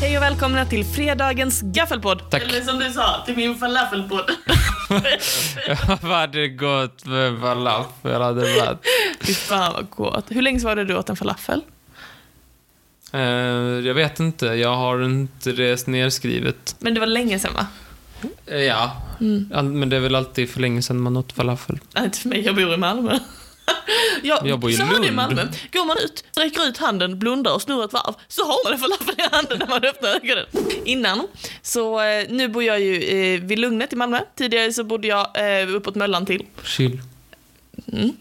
Hej och välkomna till fredagens gaffelpodd. Tack. Eller som du sa, till min falafelpodd. Vad det gott med falafel hade varit. Fy fan vad gott. Hur länge var det du åt en falafel? Eh, jag vet inte, jag har inte det nerskrivet. Men det var länge sedan va? Eh, ja, All- men det är väl alltid för länge sedan man åt falafel. Nej, inte för mig, jag bor i Malmö. Jag, Jag bor i så har det i Lund. Malmö. Går man ut, sträcker ut handen, blundar och snurrar ett varv så har man en falafel i handen när man öppnar ögonen. Innan, så eh, nu bor jag ju eh, vid Lugnet i Malmö. Tidigare så bodde jag eh, uppåt Möllan till. Chill. Mm.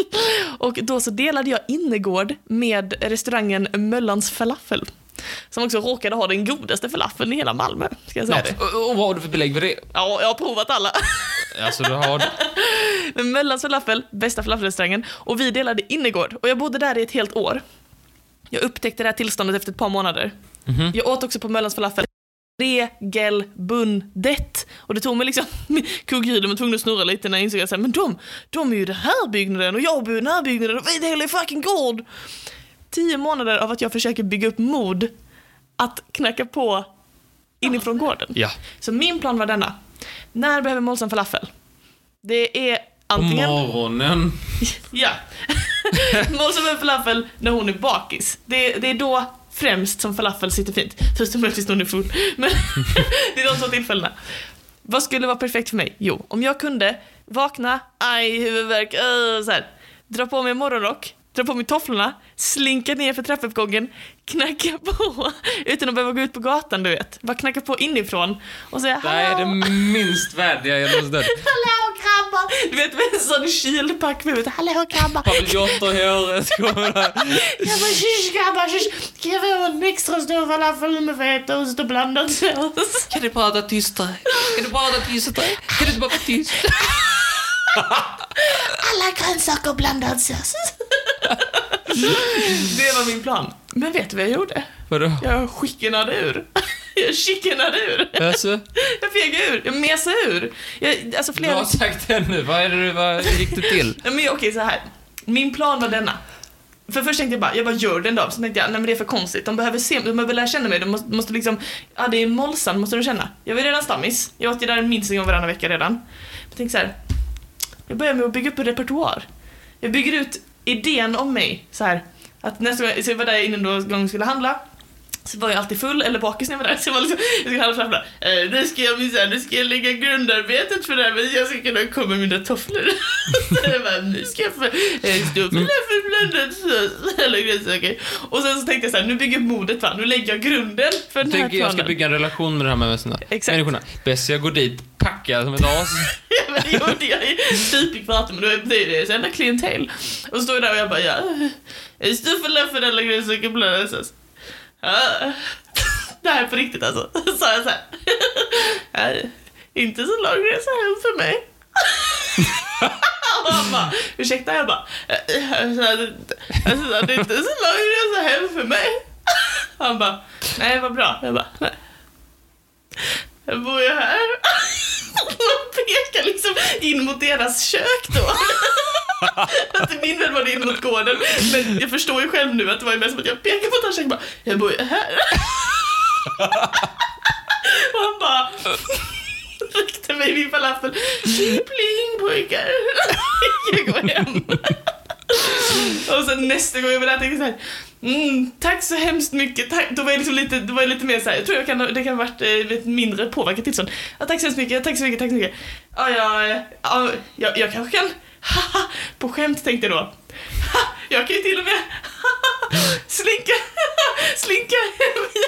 Och då så delade jag innergård med restaurangen Möllans falafel. Som också råkade ha den godaste falafeln i hela Malmö, ska jag säga det. Och, och vad har du för belägg för det? Ja, jag har provat alla. Alltså, du har... Men Möllans falafel, bästa falafelrestaurangen. Och vi delade innergård. Och jag bodde där i ett helt år. Jag upptäckte det här tillståndet efter ett par månader. Mhm. Jag åt också på Möllans falafel regelbundet. Och det tog mig liksom, kugghjulen var tvungen att snurra lite när jag insåg att så här, men de, de är ju i den här byggnaden och jag bor i den här byggnaden och vi delar i fucking gård. Tio månader av att jag försöker bygga upp mod att knacka på inifrån gården. Ja. Så min plan var denna. När behöver Målsson falafel? Det är På antingen... morgonen. Ja. Målsson behöver falafel när hon är bakis. Det, det är då främst som falafel sitter fint. Förutom möjligtvis när hon är full. Men det är de två tillfällena. Vad skulle vara perfekt för mig? Jo, om jag kunde vakna, aj, huvudvärk, öh, så här. Dra på mig en morgonrock, dra på mig tofflorna, slinka ner för trappuppgången, knacka på utan att behöva gå ut på gatan, du vet. Bara knacka på inifrån och säga Det här är det "Hallå!" minst värdiga jag någonsin hört. Hallå grabbar! Du vet med en sån kylpack med Hallå grabbar! Paviljotter-håret kommer där. Jag bara tjus grabbar tjus! Kan jag få en extra stor falafel med fetaost och blandad sås? Kan du prata tystare? Kan du prata tystare? Kan du inte bara vara tyst? Alla grönsaker och blandad sås. Det var min plan. Men vet du vad jag gjorde? Vadå? Jag chickenade ur. Jag chickenade ur. Alltså, Jag fegade ur. Jag mesade ur. Jag, alltså du har flera... sagt det nu. Vad är det du, vad gick det till? Nej, men okej så här. Min plan var denna. För först tänkte jag bara, jag bara gör den då. Sen tänkte jag, nej men det är för konstigt. De behöver se, de behöver lära känna mig. De måste, måste liksom, ja det är Målsan, måste de känna. Jag var redan stammis. Jag åt ju där minst en gång varannan vecka redan. Jag tänkte så här, jag börjar med att bygga upp en repertoar. Jag bygger ut idén om mig så här. Att nästa gång, så jag var där innan då gång skulle handla. Så var jag alltid full, eller bakis när jag var där. Så jag var liksom, jag skulle handla framför eh, nu ska jag minsann, nu ska jag lägga grundarbetet för det här, men jag ska kunna komma med mina tofflor. så jag bara, nu ska jag få eh, stå för blandad sås, alla grönsaker. Och sen så tänkte jag så här, nu bygger modet va, nu lägger jag grunden för den här Tänker jag ska planen. bygga en relation med de här människorna. Exakt. människorna. Bäst jag går dit packad som ett as. Ja, men det gjorde jag ju typ i kvarten, men då är det deras enda klientel. Och så står jag där och jag bara, ja, jag står för löften eller grönsaker bland sås. Ja. Det här är på riktigt alltså. Så sa jag så här. "Ja, Inte så lång resa hem för mig. Och han bara, ursäkta? Jag bara, "Ja, jag sa det- jag sa det är inte så lång resa hem för mig. Han bara, nej vad bra. Jag bara, nej. Jag bor ju här. Man pekar liksom in mot deras kök då. Att i min värld var det in mot gården. Men jag förstår ju själv nu att det var ju mest som att jag pekar på deras kök och bara, jag bor ju här. Och han bara ryckte mig i min falafel. Pling pling pojkar. Jag går hem. Och sen nästa gång jag var där tänkte jag såhär, mm, tack så hemskt mycket. Tack. Då var jag liksom lite, då var jag lite mer såhär, jag tror jag kan, det kan ha varit eh, ett mindre påverkat tillstånd. Ja, tack så hemskt mycket, tack så mycket, tack så mycket. Ja, jag, eh, ja, jag, jag kanske kan, haha, på skämt tänkte jag då. Ha, jag kan ju till och med slinka, slinka hem i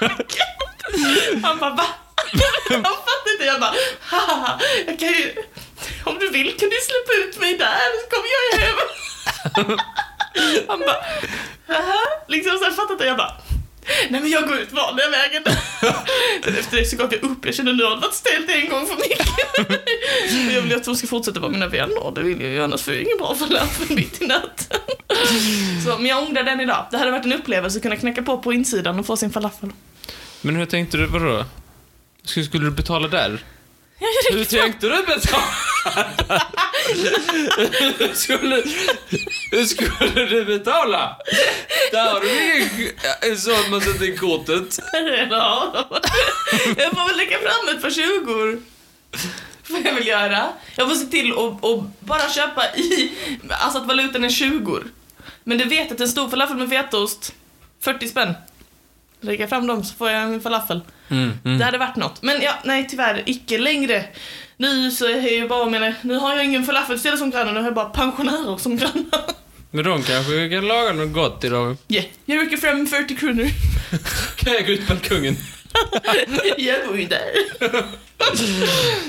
köket. Han bara, va? Han fattade inte, jag bara, haha, jag kan ju, om du vill kan du släppa ut mig där så kommer jag ju hem. Han bara, Haha. liksom så här fattat det. Jag bara, nej men jag går ut vanliga vägen. Sen efter det så gav jag upp. Jag kände nu har det varit stelt en gång för mycket. Och jag vill ju att de ska fortsätta vara mina vänner. Det vill jag ju annars får jag ingen bra falafel mitt i natten. Så, men jag ångrar den idag. Det hade varit en upplevelse att kunna knacka på på insidan och få sin falafel. Men hur tänkte du, vadå? Skulle, skulle du betala där? Jag är Hur riktigt- tänkte du betala? Hur skulle, hur skulle du betala? Där har du ingen- en sån man sätter i kortet. Ja. Jag får väl lägga fram ett par 20 Vad jag vill göra. Jag får se till att att bara köpa i, alltså att valutan är 20 Men du vet att en stor falafel med fetaost, 40 spänn. Lägga fram dem så får jag en falafel. Mm, Det hade varit något. Men ja, nej tyvärr, icke längre. Nu så är jag ju bara menar, nu har jag ingen falafelställe som granne, nu har jag bara pensionärer som grannar. Men de kanske kan laga något gott idag. Yeah, jag rycker fram 40 kronor. Kan jag gå ut på balkongen? Jag bor ju där.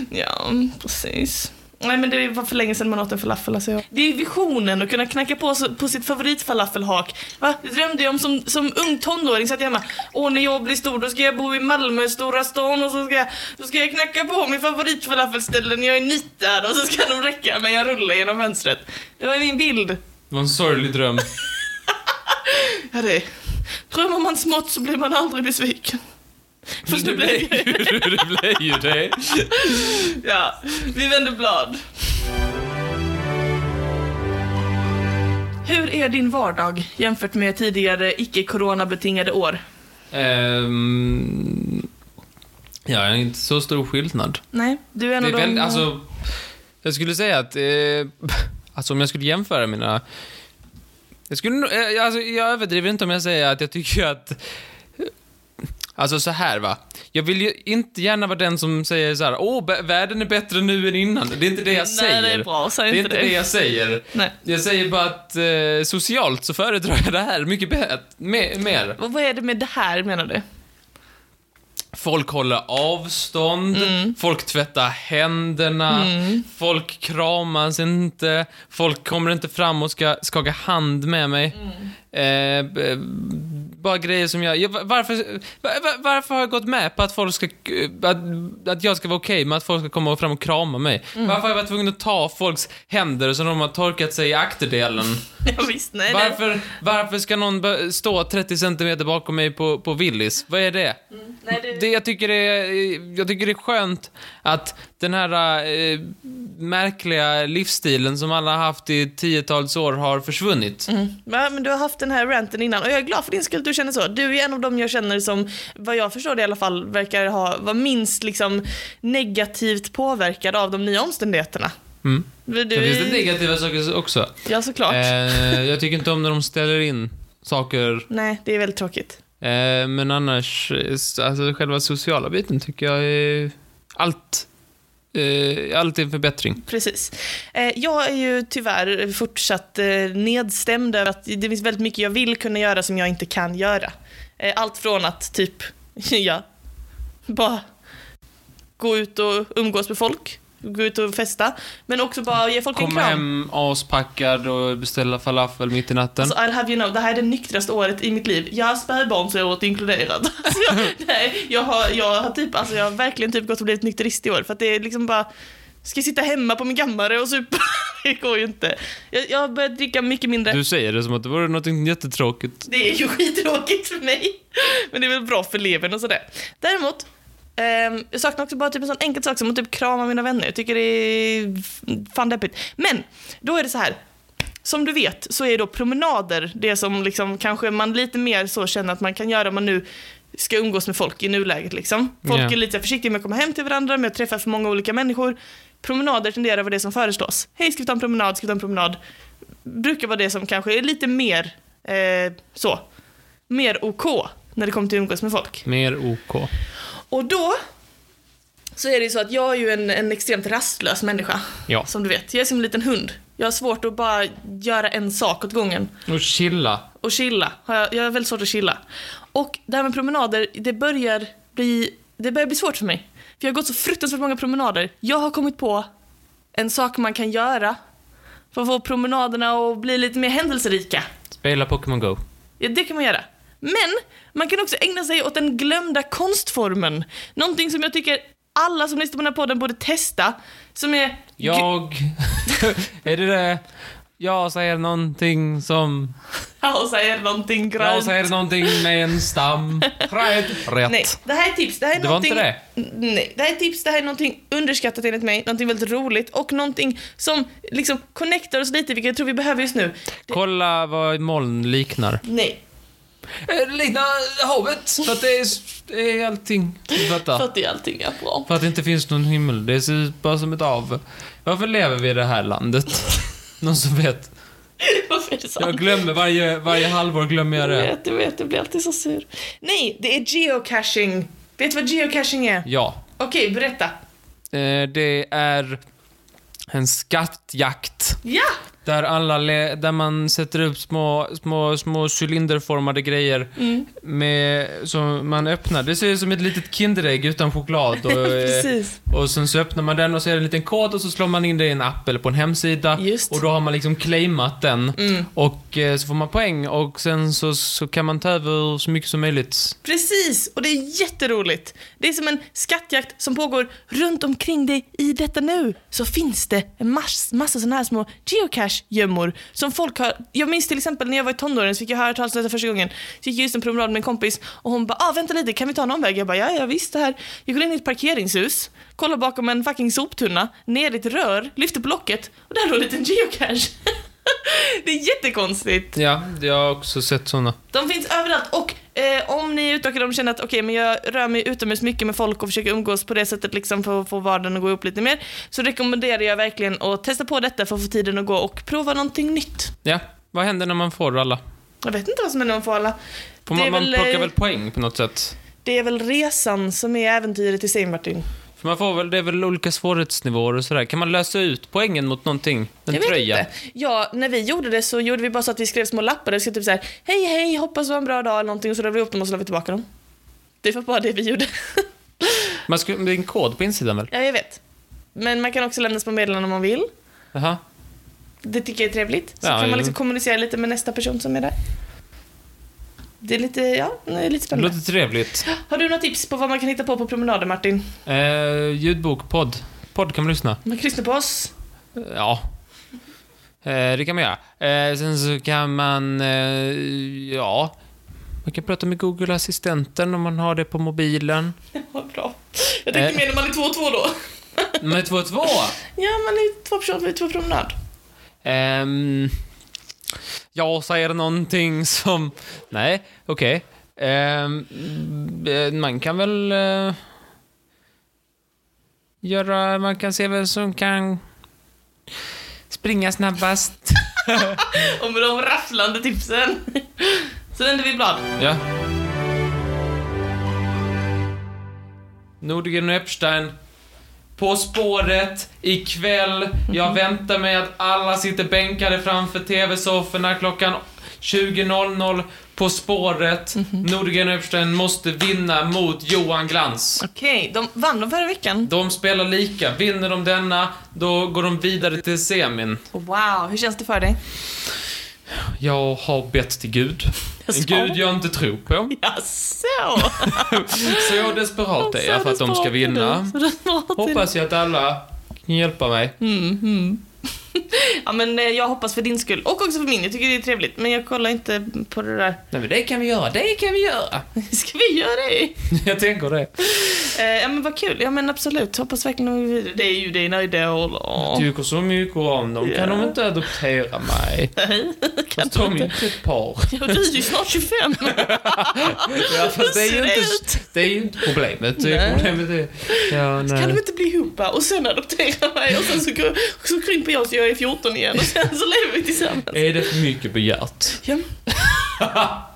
ja, precis. Nej men det var för länge sedan man åt en falafel alltså jag. Det är visionen att kunna knacka på, så- på sitt favoritfalafelhak. Va? Det drömde jag om som, som ung tonåring satt jag hemma. Åh när jag blir stor då ska jag bo i Malmö, stora stan och så ska jag, då ska jag knacka på min favoritfalafelställe när jag är nitad och så ska de räcka men jag rullar genom fönstret. Det var min bild. Det var en sorglig dröm. Ja det är. Drömmer man smått så blir man aldrig besviken. Fast nu blev jag det blev ju det. Ja, vi vänder blad. Hur är din vardag jämfört med tidigare icke-coronabetingade år? Ehm, ja, det är inte så stor skillnad. Nej, du är en Det av är de... väl, alltså, jag skulle säga att, eh, alltså om jag skulle jämföra mina... Jag, skulle, nog- eh, alltså, jag överdriver inte om jag säger att jag tycker att... Alltså så här va. Jag vill ju inte gärna vara den som säger så här, åh, vä- världen är bättre nu än innan. Det är inte det jag Nej, säger. det är bra. Säg Det är inte det. inte det jag säger. Nej. Jag säger bara att eh, socialt så föredrar jag det här mycket bä- me- mer. Vad vad är det med det här, menar du? Folk håller avstånd, folk tvättar händerna, folk kramas inte, folk kommer inte fram och ska skaka hand med mig. Eh, b- bara grejer som jag... jag va- varför, va- va- varför har jag gått med på att folk ska... Att, att jag ska vara okej med att folk ska komma fram och krama mig? Varför har jag varit tvungen att ta folks händer som de har torkat sig i akterdelen? Ja, visst, nej, nej. Varför, varför ska någon bö- stå 30 centimeter bakom mig på, på Willys? Vad är det? nej det... det jag, tycker är, jag tycker det är skönt att den här eh, märkliga livsstilen som alla har haft i tiotals år har försvunnit. Ja, men du har haft den här ranten innan och jag är glad för din skull att du känner så. Du är en av dem jag känner som, vad jag förstår det i alla fall, verkar ha, vara minst liksom negativt påverkad av de nya omständigheterna. Mm. Du, du Det finns är- det negativa saker också. Ja, såklart. Eh, jag tycker inte om när de ställer in saker. Nej, det är väldigt tråkigt. Eh, men annars, eh, alltså själva sociala biten tycker jag är... Allt, eh, allt är en förbättring. Precis. Eh, Jag är ju tyvärr fortsatt eh, nedstämd över att det finns väldigt mycket jag vill kunna göra som jag inte kan göra. Eh, Allt från att typ, ja, bara gå ut och umgås med folk, gå ut och festa, men också bara ge folk en Komma kram. hem aspackad och beställa falafel mitt i natten. Alltså, I'll have you know, det här är det nyktraste året i mitt liv. Jag har spädbarn så jag åt inkluderat. Alltså, jag, nej, jag har, jag har typ, alltså jag har verkligen typ gått och blivit nykterist i år för att det är liksom bara, ska jag sitta hemma på min kammare och supa? Det går ju inte. Jag, jag har börjat dricka mycket mindre. du säger det som att det vore något jättetråkigt. Det är ju skittråkigt för mig. Men det är väl bra för levern och sådär. Däremot, ehm, jag saknar också bara typ en sån enkel sak som att typ krama mina vänner. Jag tycker det är fan deppigt. Men, då är det så här. Som du vet så är då promenader det som liksom kanske man lite mer så känner att man kan göra om man nu ska umgås med folk i nuläget liksom. Folk Ja. är lite försiktiga med att komma hem till varandra, med att träffa för många olika människor. Promenader tenderar att vara det som föreslås. Hej, ska vi ta en promenad? Ska vi ta en promenad? brukar vara det som kanske är lite mer eh, så, mer OK när det kommer till att umgås med folk. Mer OK. Och då så är det ju så att jag är ju en, en extremt rastlös människa, Ja. som du vet. Jag är som en liten hund. Jag har svårt att bara göra en sak åt gången Och chilla. och chilla. Har Jag, jag har väldigt svårt att chilla. Och det här med promenader, det börjar bli, det börjar bli svårt för mig. För jag har gått så fruktansvärt många promenader. Jag har kommit på en sak man kan göra för att få promenaderna att bli lite mer händelserika. Spela Pokémon Go. Ja, det kan man göra. Men man kan också ägna sig åt den glömda konstformen. Någonting som jag tycker alla som lyssnar på den här podden borde testa. Som är... Jag... är det det? Jag säger någonting som Raus säger någonting grönt. Ja, och så är det någonting med en stam. Träd. Rätt. Nej, det här är tips. Det här är Det var inte någonting- Nej, det här är tips. Det här är någonting underskattat enligt mig, någonting väldigt roligt och någonting som liksom connectar oss lite, vilket jag tror vi behöver just nu. Det, Kolla vad moln liknar. nej, Eh, Liknar havet. För att det är, det är allting. Vänta. för att det allting är bra. För att det inte finns någon himmel. Det ser ut bara som ett av. Varför lever vi i det här landet? Någon som vet? Varför är det så? Jag glömmer varje, varje halvår glömmer jag Jag det. vet, jag vet, jag blir alltid så sur. Nej, det är geocaching. Vet du vad geocaching är? Ja. Okej, berätta. Eh, det är en skattjakt. Ja! Där, alla le- där man sätter upp små, små, små cylinderformade grejer Mm. med, som man öppnar. Det ser ut som ett litet Kinderägg utan choklad. Och, eh, Precis. och sen så öppnar man den och så är det en liten kod och så slår man in det i en app eller på en hemsida. Just. Mm. Och då har man liksom claimat den. Och eh, så får man poäng och sen så, så kan man ta över så mycket som möjligt. Precis, och det är jätteroligt. Det är som en skattjakt som pågår runt omkring dig i detta nu. Så finns det en mass, massa sådana här små geocache-gömmor som folk har... Jag minns till exempel när jag var i tonåren så fick jag höra talas om detta första gången. Så gick jag just en promenad med en kompis och hon bara ah, “Vänta lite, kan vi ta någon väg?” Jag bara “Ja, ja visst det här”. Jag går in i ett parkeringshus, kollar bakom en fucking soptunna, ner i ett rör, lyfter på locket och där låg en liten geocache. det är jättekonstigt. Ja, jag har också sett såna. De finns överallt och eh, om ni är ute och de känner att okej men jag rör mig utomhus mycket med folk och försöker umgås på det sättet liksom för att få vardagen att gå upp lite mer så rekommenderar jag verkligen att testa på detta för att få tiden att gå och prova någonting nytt. Ja, vad händer när man får alla? Jag vet inte vad som är någon fara. Får Det man, är man väl, plockar eh, väl poäng på något sätt? Det är väl resan som är äventyret i sig Martin. För man får väl, det är väl olika svårighetsnivåer och sådär. Kan man lösa ut poängen mot någonting? En jag tröja? Vet inte. Ja, när vi gjorde det så gjorde vi bara så att vi skrev små lappar där vi skrev typ så här: hej hej hoppas det var en bra dag eller någonting och så rörde vi upp dem och så la vi tillbaka dem. Det var bara det vi gjorde. Man ska, det är en kod på insidan väl? ja, jag vet. Men man kan också lämna små meddelanden om man vill. Jaha. Det tycker jag är trevligt. Så Ja, kan ja. man liksom kommunicera lite med nästa person som är där. Det är lite, ja, det är lite Det spännande. låter trevligt. Har du några tips på vad man kan hitta på på promenader Martin? Eh, ljudbok, podd. Podd kan man lyssna. Man kan lyssna på oss. Eh, Ja. Eh, det kan man göra. Eh, sen så kan man, eh, ja. Man kan prata med Google Assistenten om man har det på mobilen. Vad bra. Jag tänkte Eh. mer när man är två och två då. Med 212! Ja, man är två personer på två promenad. Ehm, jag säger någonting som... Nej, okej. Ehm, eh, man kan väl... eh, göra... Man kan se vem som kan springa snabbast. Och med de rafflande tipsen så vänder vi blad. Ja. Nordgren och Epstein. På spåret, ikväll. Jag väntar mig att alla sitter bänkade framför TV-sofforna klockan 20.00. På spåret. Nordgren och Epstein måste vinna mot Johan Glans. Okej, de vann de förra veckan. De spelar lika. Vinner de denna, då går de vidare till semin. Wow, hur känns det för dig? Jag har bett till Gud. Jag En sa- Gud jag inte tror på. Jaså? Så desperat är jag för att de ska vinna. Så desperat är du. Hoppas jag att alla kan hjälpa mig. Mm, mm. ja men eh, jag hoppas för din skull och också för min. Jag tycker det är trevligt men jag kollar inte på det där. Nej men det kan vi göra, det kan vi göra. Ska vi göra det? Jag tänker det. Eh, ja men vad kul. Ja men absolut. Hoppas verkligen att vi- Det är ju dina ideal. Jag åh. tycker så mycket om dem, kan de inte adoptera mig? Nej, kan Fast du de är ju inte. inte ett par. Ja, du är ju snart 25. Ja, fast det är ju Ser inte, ut. det är ju inte problemet. Det Nej. är problemet är... Ja, Kan de nej. inte bli ihop och sen adoptera mig och sen så, går- så krymper jag så jag är 14 igen och sen så lever vi tillsammans. Är det för mycket begärt? Ja.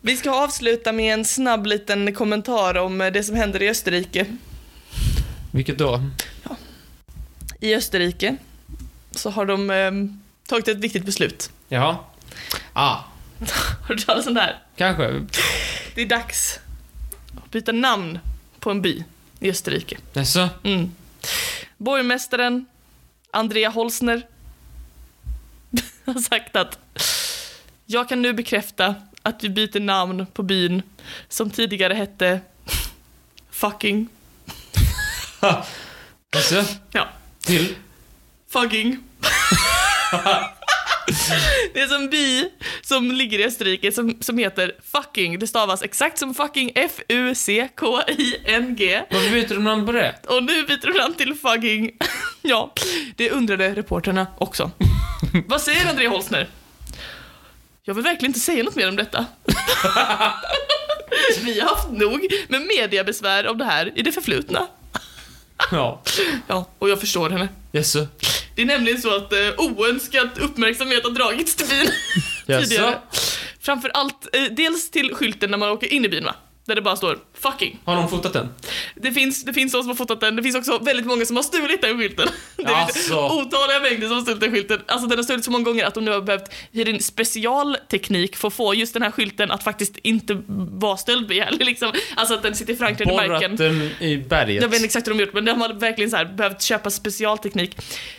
Vi ska avsluta med en snabb liten kommentar om eh, det som händer i Österrike. Vilket då? I Österrike så har de ehm, tagit ett viktigt beslut. Jaha. Ah, Har du talat om det här? kanske. Det är dags att byta namn på en by i Österrike. Jaså? Mm. Borgmästaren Andrea Holzner har sagt att jag kan nu bekräfta att vi byter namn på byn som tidigare hette fucking, Jaså? ja, Till? fucking. Det är som bi som ligger i Österrike som, som heter fucking. Det stavas exakt som fucking F-U-C-K-I-N-G. Varför byter de namn på det? Och nu byter de namn till fucking. Ja, det undrade reporterna också. Vad säger André Holsner? Jag vill verkligen inte säga något mer om detta. Vi har haft nog med mediebesvär om det här i det förflutna. Ja. Ja, och jag förstår henne. Jaså? Det är nämligen så att eh, oönskad uppmärksamhet har dragits till byn tidigare. Jaså? Framför allt, eh, dels till skylten när man åker in i byn va? Där det bara står 'fucking'. Har de fotat den? Det finns, det finns de som har fotat den, det finns också väldigt många som har stulit den skylten. Det är Alltså. otaliga mängder som har stulit den skylten. Alltså den har stulits så många gånger att de nu har behövt hyra in specialteknik för att få just den här skylten att faktiskt inte vara stöldbegärlig liksom. Alltså att den sitter förankrad i marken. Borrat den i berget? Jag vet inte exakt hur de gjort men de hade verkligen så här behövt köpa specialteknik.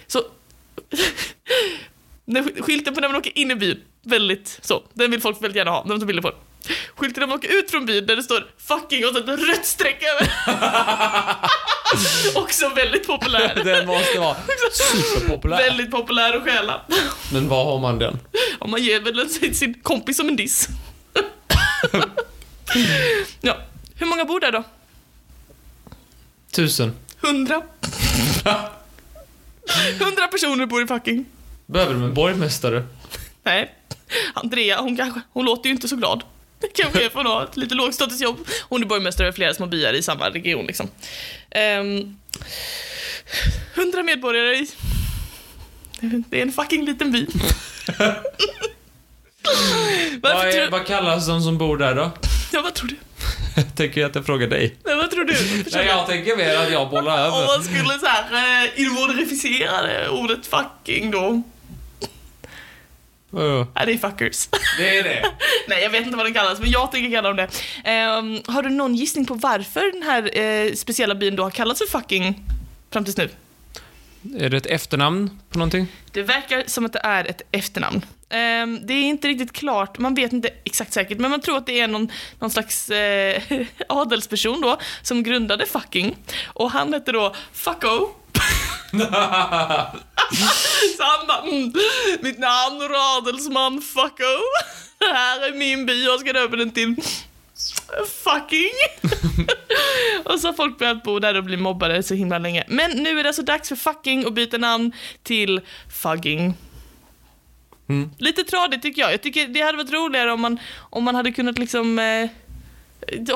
Så när sk- skylten på när man åker in i byn, väldigt så, den vill folk väldigt gärna ha, de tar bilder på den. Skylten när man åker ut från byn där det står 'fucking' och så ett rött streck över. Också väldigt populär. Den måste vara superpopulär. Väldigt populär att stjäla. Men var har man den? Om man ger väl sin- sin kompis som en diss. ja. Hur många bor där då? Tusen. Hundra. Hundra personer bor i fucking. Behöver de en borgmästare? Nej. Andrea, hon, kanske, hon låter ju inte så glad. Det Kanske är för att ha ett lite lågstatusjobb. Hon är borgmästare över flera små byar i samma region liksom. Ehm, 100 medborgare i... Det är en fucking liten by. Varför Vad, är, tror... vad kallas de som bor där då? Ja, vad tror du? tänker jag att jag frågar dig. Nej, vad tror du? Försök- Nej, jag tänker mer att jag bollar Om över. man skulle så här eh, invånarificera det ordet fucking då. Vadå? Nej, det är fuckers. Det är det. Nej, jag vet inte vad den kallas, men jag tänker kalla dem det. Ehm, har du någon gissning på varför den här eh, speciella byn då har kallats för fucking fram tills nu? Är det ett efternamn på någonting? Det verkar som att det är ett efternamn. Ehm, det är inte riktigt klart, man vet inte exakt säkert, men man tror att det är någon, någon slags eh, adelsperson då som grundade fucking. Och han hette då Fucko. Så han bara, mm, mitt namn är adelsman Fucko. Det här är min by, jag ska döpa den till fucking. och så har folk börjat bo där och bli mobbade så himla länge. Men nu är det alltså dags för fucking att byta namn till fugging. Mm. Lite tradigt tycker jag. Jag tycker det hade varit roligare om man, om man hade kunnat liksom eh,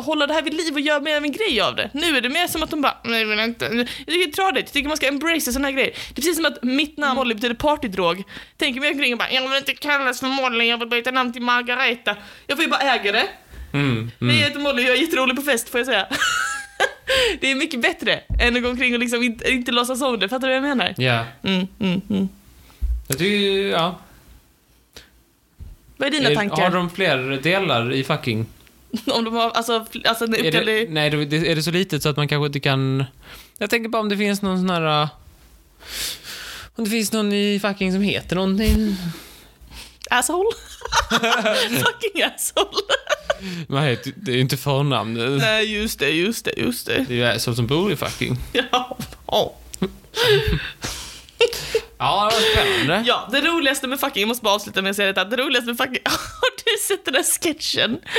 hålla det här vid liv och göra mer av en grej av det. Nu är det mer som att de bara, nej men inte. Jag tycker det är tradigt, jag tycker man ska embracea sådana här grejer. Det är precis som att mitt namn Molly betyder partydrog. Tänker mig omkring och bara, jag vill inte kallas för Molly, jag vill byta namn till Margareta. Jag får ju bara äga det. Mm. Hej jag heter Molly, jag är jätterolig på fest får jag säga. det är mycket bättre än att gå omkring och liksom inte, inte låtsas om det, fattar du vad jag menar? Ja. Mm, mm, mm. Jag tycker, ja. Vad är dina Är- tankar? Har de fler delar i fucking? Om de har, alltså, fl- alltså en Är det, uppdelning- nej, det- det- är det så litet så att man kanske inte kan... Jag tänker bara om det finns någon sån här... äh, Om det finns någon i fucking som heter någonting. asshole? Fucking asshole. Man heter, det är ju inte förnamn. Det Nej, just det, just det, just det. är ju asshole som bor i fucking. Ja. ja. Ja, det var spännande. Ja, det roligaste med fucking, jag måste bara avsluta med att säga detta, det roligaste med fucking, har du sett den där sketchen?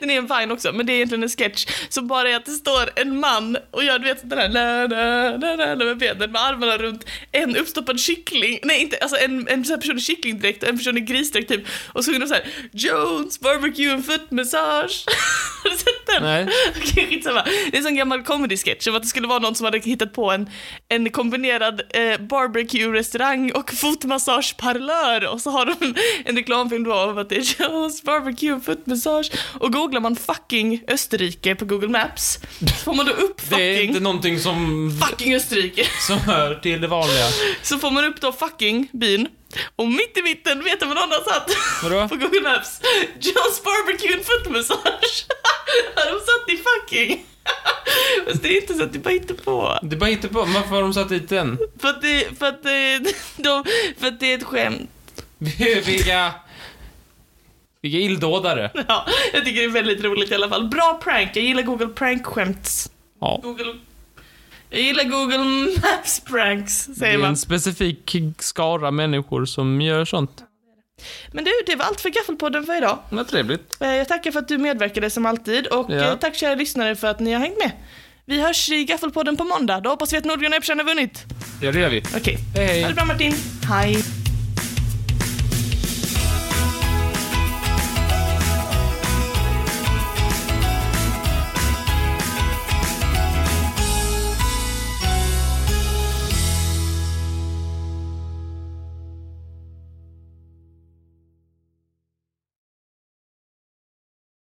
Den är en Vine också, men det är egentligen en sketch som bara är att det står en man och gör du vet den här la, la, la, la, la, med benen med armarna runt en uppstoppad kyckling, nej inte, alltså en, en sån här person i kycklingdräkt och en person i grisdräkt typ och så sjunger de så här Jones barbecue and foot massage. Har du sett den? Nej. Okej, skitsamma. Det är en sån gammal comedy-sketch om att det skulle vara någon som hade hittat på en, en kombinerad eh, barbecue-restaurang och fotmassageparlör och så har de en, en reklamfilm då om att det är Jones barbecue och fotmassage och googlar man fucking Österrike på Google Maps så får man då upp Det är fucking, inte någonting som, fucking Österrike som hör till det vanliga. så får man upp då fucking byn och mitt i mitten vet du vad någon har satt Vadå? på Google Maps? Jones barbecue and footmassage har de satt i fucking Fast det är inte så att du bara hittar på. Det är bara inte på. Varför har de satt dit den? För att det, för att det, de, för att det är ett skämt. Vilka... Vilka illdådare. Ja, jag tycker det är väldigt roligt i alla fall. Bra prank, jag gillar Google prank-skämts. Ja. Google Jag gillar Google Maps pranks, Det säger är en man. specifik skara människor som gör sånt. Men du, det var allt för Gaffelpodden för idag. Vad trevligt. Eh, Jag tackar för att du medverkade som alltid och Ja. eh, tack kära lyssnare för att ni har hängt med. Vi hörs i Gaffelpodden på måndag. Då hoppas vi att Nordgren och Epstein har vunnit. Ja, det gör vi. Okej. Hej, hej. Ha det bra Martin. Hej.